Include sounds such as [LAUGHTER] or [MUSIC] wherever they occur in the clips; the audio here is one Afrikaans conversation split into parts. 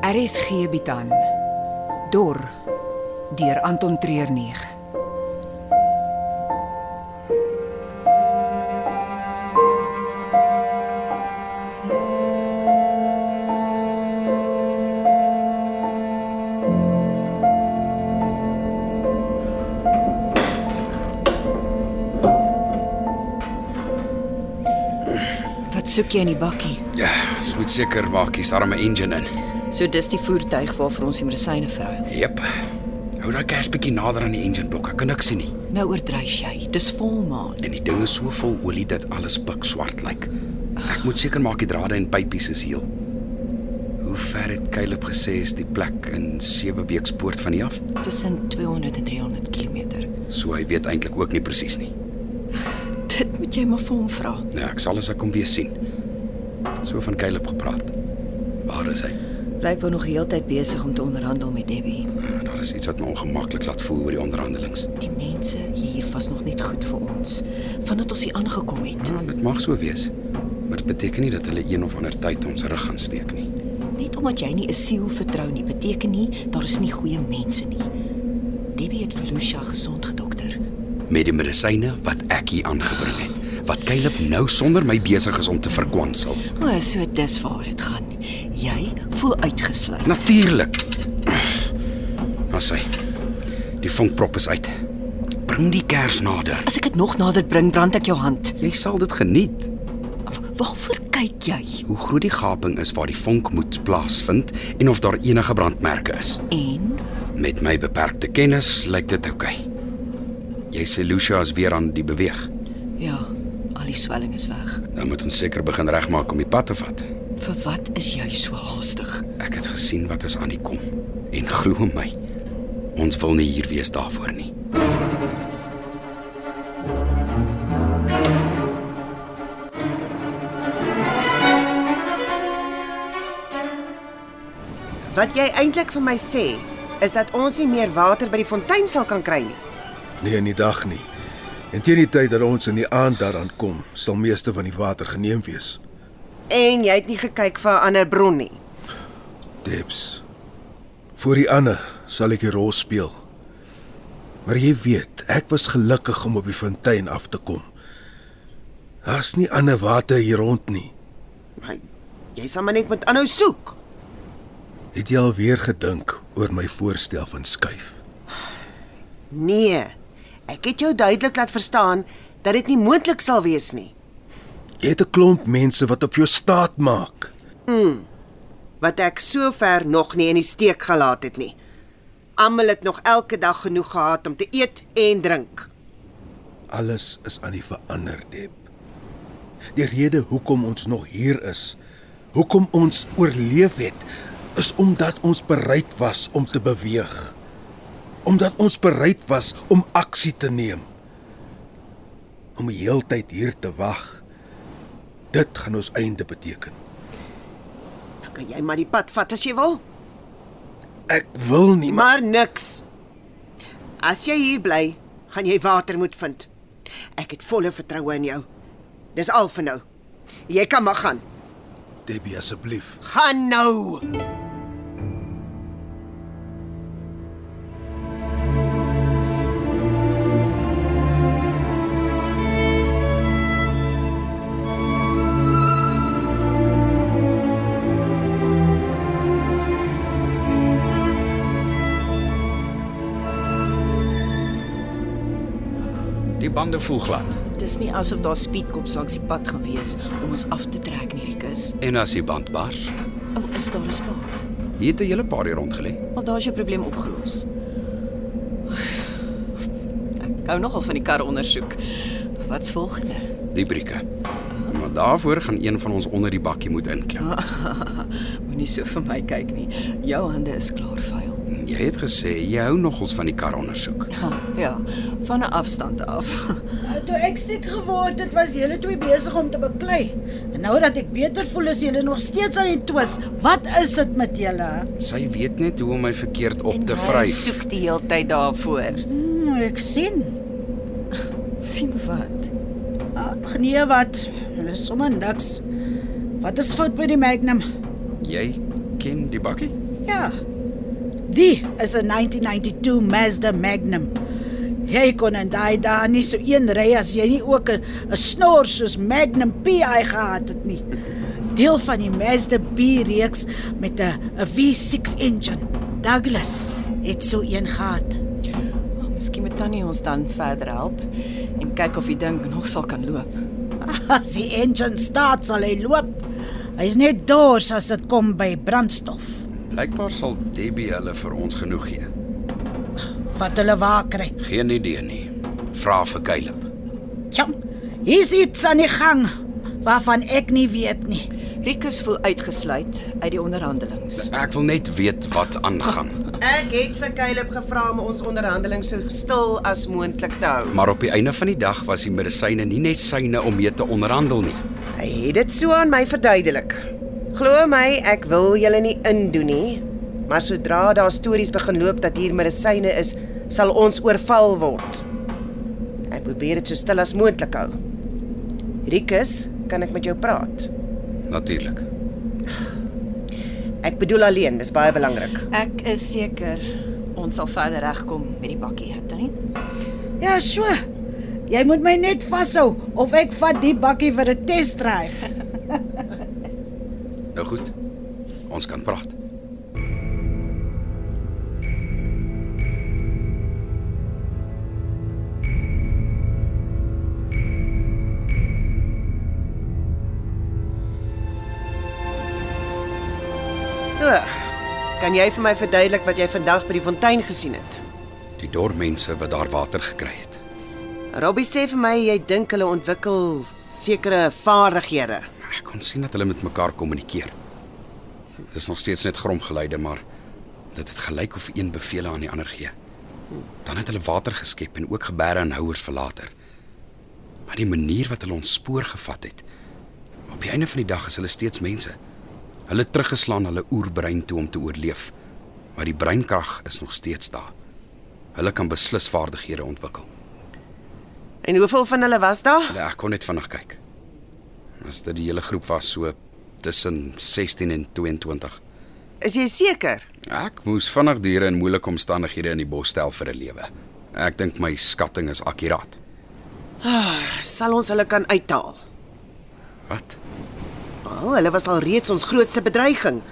RSG bied aan Dor deur Anton Treuer 9. Wat soek jy in die bakkie? Ja, ons moet seker maak hier's daar 'n engine in. So dis die voertuig waarvoor ons die medisyne vra. Jep. Hou daai kers bietjie nader aan die engine blok. Ek kan niks sien nie. Nou oordryf jy. Dis volmaan. En die ding is so vol olie dat alles pikswart lyk. Ek moet seker maak die drade en pypies is heel. Hoe ver het Caleb gesê is die plek in Sewebeekspoort van hier af? Tussen 200 en 300 km. So hy weet eintlik ook nie presies nie. Dit moet jy maar vir hom vra. Ja, ek sal as ek hom weer sien. So van Caleb gepraat. Waar is hy? Lyk hy nog heeltyd besig om te onderhandel met Debbie. Ja, Daar is iets wat my ongemaklik laat voel oor die onderhandelinge. Die mense hier was nog net goed vir ons vandat ons hier aangekom het. Ja, dit mag so wees, maar dit beteken nie dat hulle een of ander tyd ons rug gaan steek nie. Net omdat jy nie 'n siel vertrou nie, beteken nie daar is nie goeie mense nie. Debbie het Felucia gesond gedokter. Met die medisyne wat ek hier aangebring het, wat Caleb nou sonder my besig is om te verkwansel. O, so dis waar dit gaan. Jy voel uitgesluit. Nou- Natuurlik. Ons sê die vonkprop is uit. Bring die kers nader. As ek dit nog nader bring, brand ek jou hand. Jy sal dit geniet. Wa- Waarvoor kyk jy? Hoe groot die gaping is waar die vonk moet plaasvind en of daar enige brandmerke is. En Met my beperkte kennis lyk dit oukei. Okay. Jy sê Lucia is weer aan die beweeg. ja, al die swelling is weg. Dan moet ons seker begin regmaak om die pad te vat. Vir wat is jy so haastig? Ek het gesien wat is aan die kom en glo my, ons wil nie hier wees daarvoor nie. Wat jy eintlik vir my sê, is dat ons nie meer water by die fontein sal kan kry nie. Nee, in die dag nie. En teen die tyd dat ons in die aand daaraan kom, sal meeste van die water geneem wees. En jy het nie gekyk vir 'n ander bron nie. Debs. Vir die ander sal ek 'n rol speel. Maar jy weet, ek was gelukkig om op die fontein af te kom. Daar's nie ander water hier rond nie. Maar jy sal maar net moet aanhou soek. Het jy al weer gedink oor my voorstel van skuif? Nee. Ek het jou duidelik laat verstaan dat dit nie moontlik sal wees nie. Jy het 'n klomp mense wat op jou staat maak. Wat ek sover nog nie in die steek gelaat het nie. Almal het nog elke dag genoeg gehad om te eet en drink. Alles is aan die verander, Deb. Die rede hoekom ons nog hier is, hoekom ons oorleef het, is omdat ons bereid was om te beweeg. Omdat ons bereid was om aksie te neem. Om die heeltyd hier te wag. Dit gaan ons einde beteken. Dan kan jy maar die pad vat as jy wil, Ek wil nie, maar maar niks. As jy hier bly, gaan jy water moet vind. Ek het volle vertroue in jou. Dis al vir nou. Jy kan maar gaan. Debbie asseblief. Gaan nou. Die bande voel glad. Dis nie asof daar speedkops langs die pad gaan wees om ons af te trek nie, Rikus. En as die band bars, Ou, oh, is daar 'n spaar? hier het 'n hele paar hier rond gelê. Maar daar's jou probleem opgelos. Ek hou nogal van die kar ondersoek. Wat's volgende? Die brieke. Maar daarvoor gaan een van ons onder die bakkie moet inklim. Ah. Moenie so vir my kyk nie. Jou hande is klaar vuil. Jy het gesê jy hou nogals van die kar ondersoek. Ha, ja, van 'n afstand af. Eh, Toe ek siek geword het, was julle twee besig om te beklei. En nou dat ek beter voel, is julle nog steeds aan die twis. Wat is dit met julle? Sy weet net hoe om my verkeerd op te Hy vryf. soek die heeltyd daarvoor. Hmm, ek sien. sien wat. Ag nee, wat? Hulle is sommer niks. Wat is fout by die Magnum? Jy ken die bakkie? Ja. Die is 'n 1992 Mazda Magnum. Jy kon en daai daar nie so een ry as jy nie ook 'n 'n snor soos Magnum PI gehad het nie. Deel van die Mazda B reeks met 'n 'n V6 engine. Douglas het so een gehad. [LAUGHS] Oh, miskien moet Tannie ons dan verder help en kyk of die ding nog sal kan loop. As die engine start sal hy loop. Hy's net dors as dit kom by brandstof. Blykbaar sal Debbie hulle vir ons genoeg gee. Wat hulle waar kry. Geen idee nie. Vra vir Caleb. Ja. Hier's iets aan die gang waarvan ek nie weet nie. Rikus voel uitgesluit uit die onderhandelings. Ek wil net weet wat aangaan. Ek het vir Caleb gevra om ons onderhandeling so stil as moontlik te hou. Maar op die einde van die dag was die medisyne nie net syne om mee te onderhandel nie. Hy het dit so aan my verduidelik. Glo my, ek wil julle nie indoen nie, maar sodra daar stories begin loop dat hier medisyne is, sal ons oorval word. Ek probeer dit so stil as moontlik hou. Rikus, kan ek met jou praat? Natuurlik. Ek bedoel alleen, dis baie belangrik. Ek is seker ons sal verder regkom met die bakkie hitte nie. Ja, so. Jy moet my net vashou of ek vat die bakkie vir 'n test drive. Nou goed. Ons kan praat. O, kan jy vir my verduidelik wat jy vandag by die fontein gesien het? Die dorpmense wat daar water gekry het. Robbie sê vir my jy dink hulle ontwikkel sekere vaardighede. Ek kon sien dat hulle met mekaar kommunikeer. Dis nog steeds net gromgeluide, maar dit het gelyk of een beveel aan die ander gee. Dan het hulle water geskep en ook gebere en houers vir later. Maar die manier wat hulle ons spoor gevat het. Op die einde van die dag is hulle steeds mense. Hulle het teruggeslaan hulle oerbrein toe om te oorleef, maar die breinkrag is nog steeds daar. Hulle kan beslis vaardighede ontwikkel. En hoeveel van hulle was daar? Ja, ek kon net vinnig kyk. As dit die hele groep was so tussen 16 en 22. Is jy seker? Ek moes vinnig diere in moeilike omstandighede in die bos stel vir 'n lewe. Ek dink my skatting is akuraat. Sal ons hulle kan uithaal? Wat? Wel, hulle was al reeds ons grootste bedreiging.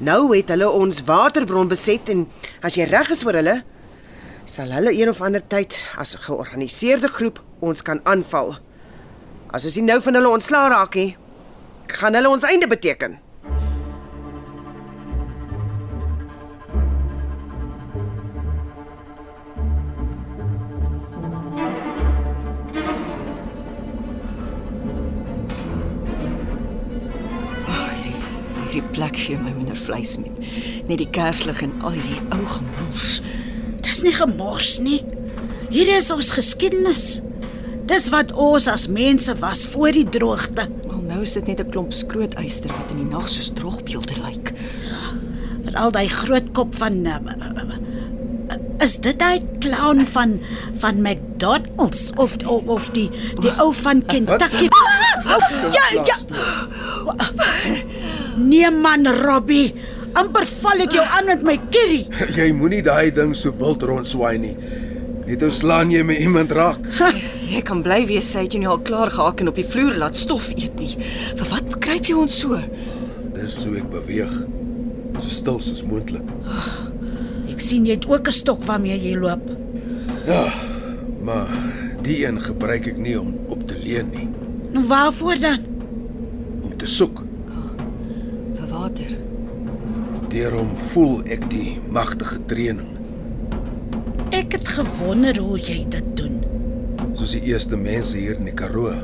Nou het hulle ons waterbron beset en as jy reg is oor hulle, sal hulle een of ander tyd as 'n georganiseerde groep ons kan aanval. As ons nie nou van hulle ontslaa raak nie, gaan hulle ons einde beteken. Oh, hierdie hierdie plek gee my minder vleis met. Net die kerslig en al hierdie ou gemors. [LAUGHS] Dis nie gemors nie. Hier is ons geskiedenis. Dis wat ons as mense was voor die droogte. Maar nou is dit net 'n klomp skrootyster wat in die nag soos drogbeelde lyk. Met al daai groot kop van eh, Is dit daai clown van van McDonald's of of, of die die ou [LAUGHS] van Kentucky? Ja, ja. Nee man, Robbie. Amper val ek jou aan met my curry. Jy moenie daai ding so wild rondswaai nie. Net ou slaan jy my iemand raak. Jy kan bly wees sy het jou nie al klaar gehak en op die vloer laat stof eet nie. Vir wat bekruip jy ons so? Dis hoe ek beweeg. So stil soos moontlik. Ek sien jy het ook 'n stok waarmee jy loop. Ja, maar die een gebruik ek nie om op te leen nie, Nou waarvoor dan? om te soek. Vir water. Daarom voel ek die magtige dreuning, Ek het gewonder hoe jy dit doen. soos die eerste mense hier in die Karoo.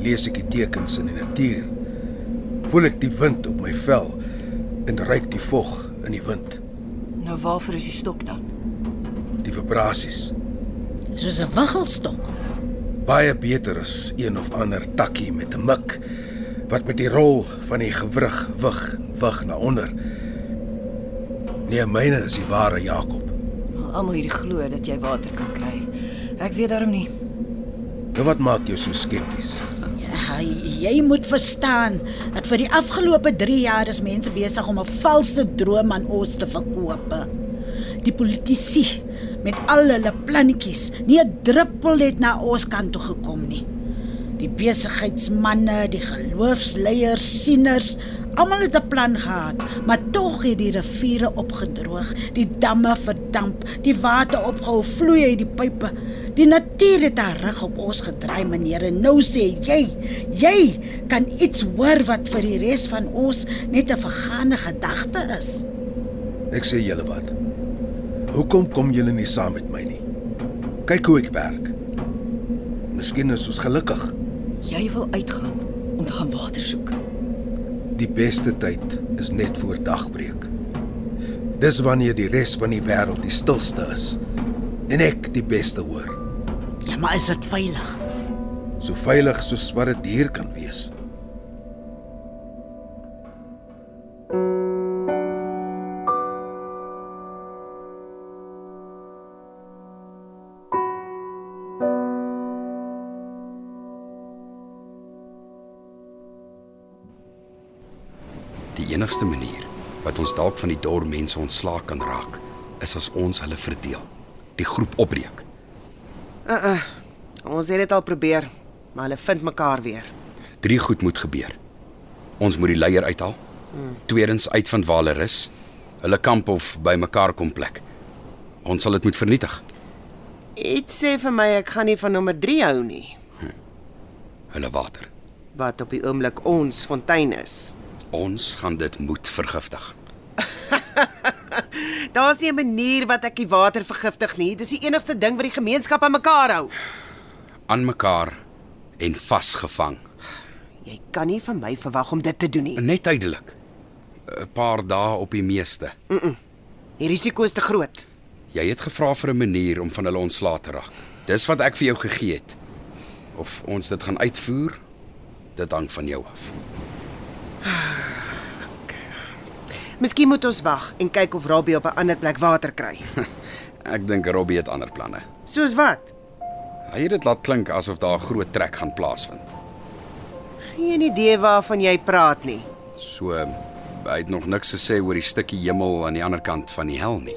Lees ek die tekens in die natuur. Voel ek die wind op my vel en ruik die vog in die wind, Nou waarvoor is die stok dan? die vibrasies. Soos 'n wiggelstok. Baie beter as een of ander takkie met 'n mik wat met die rol van die gewrig wig wig na onder. Nee, myne is die ware Jakob. Al almal hier glo dat jy water kan kry. Ek weet daarom nie. Nou wat maak jou so skepties? Ja, jy moet verstaan dat vir die afgelope 3 jaar is mense besig om 'n valse droom aan ons te verkoop. Die politici met al hulle plannetjies, nie 'n druppel het na ons kant toe gekom nie. Die besigheidsmense, die geloofsleiers, sieners, almal het 'n plan gehad, maar tog het die riviere opgedroog, die damme verdamp, die water opgehou vloei uit die pype. Die natuur het haar rug op ons gedraai, meneer, en nou sê jy, jy kan iets hoor wat vir die res van ons net 'n vergane gedagte is. Ek sê julle wat. Hoekom kom julle nie saam met my nie? Kyk hoe ek werk. Miskien is ons gelukkig. Jy wil uitgaan om te gaan water soek. Die beste tyd is net voor dagbreek. Dis wanneer die res van die wêreld die stilste is en ek die beste hoor, Ja, maar is dit veilig? so veilig soos wat dit hier kan wees. Die enigste manier wat ons dalk van die dorp mense ontslaak kan raak, is as ons hulle verdeel. Die groep opbreek. Uh uh. Ons het dit al probeer, maar hulle vind mekaar weer. Drie goed moet gebeur. Ons moet die leier uithaal. Tweedens uit van waar hulle is, hulle kamp of by mekaar kom plek. Ons sal dit moet vernietig. Iets sê vir my ek gaan nie van nommer 3 hou nie, Hulle water. wat op die oomblik ons fontein is. Ons gaan dit moet vergiftig. Daar's nie 'n manier wat ek die water vergiftig nie. Dis die enigste ding wat die gemeenskap aan mekaar hou. Aan mekaar en vasgevang. Jy kan nie van my verwag om dit te doen nie. Net tydelik. 'n Paar dae op die meeste. Die risiko is te groot. Jy het gevra vir 'n manier om van hulle ontslae te raak. Dis wat ek vir jou gegee het. Of ons dit gaan uitvoer, dit hang van jou af. Miskien moet ons wag en kyk of Rabbi op 'n ander plek water kry. Ek dink Robbie het ander planne. Soos wat? Hy het dit laat klink asof daar 'n groot trek gaan plaasvind. Geen idee waarvan jy praat nie. So hy het nog niks gesê oor die stukkie hemel aan die ander kant van die hel nie.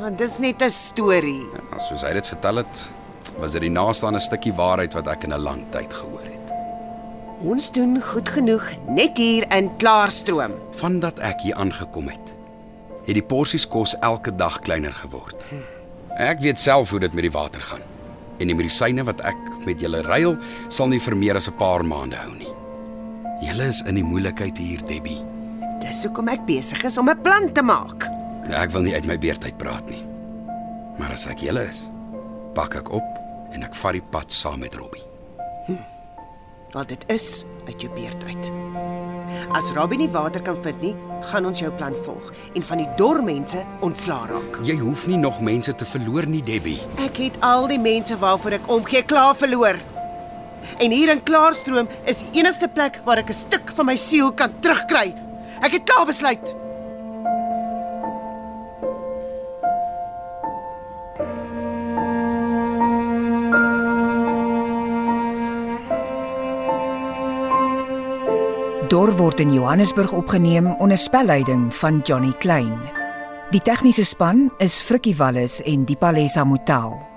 Maar dis net 'n storie. Ja, soos hy dit vertel het, was dit die naaste aan 'n stukkie waarheid wat ek in 'n lang tyd gehoor het. Ons doen goed genoeg net hier in Klaarstroom. Vandat ek hier aangekom het, het die porsies kos elke dag kleiner geword. Ek weet self hoe dit met die water gaan. En die medisyne wat ek met julle ruil, sal nie vir meer as 'n paar maande hou nie. Julle is in die moeilikheid hier, Debbie. Dis hoekom ek besig is om 'n plan te maak. Ek wil nie uit my beertyd praat nie. Maar as ek julle is, pak ek op en ek vat die pad saam met Robbie. Want dit is uit jou beurt uit. As Robbie nie water kan vind nie, gaan ons jou plan volg en van die dormense ontslaa raak. Jy hoef nie nog mense te verloor nie, Debbie. Ek het al die mense waarvoor ek omgee klaar verloor. En hier in Klaarstroom is die enigste plek waar ek 'n stuk van my siel kan terugkry. Ek het klaar besluit. Dor word in Johannesburg opgeneem onder spelleiding van Johnny Klein. Die tegniese span is Frikkie Wallis en Dipalesa Motelo.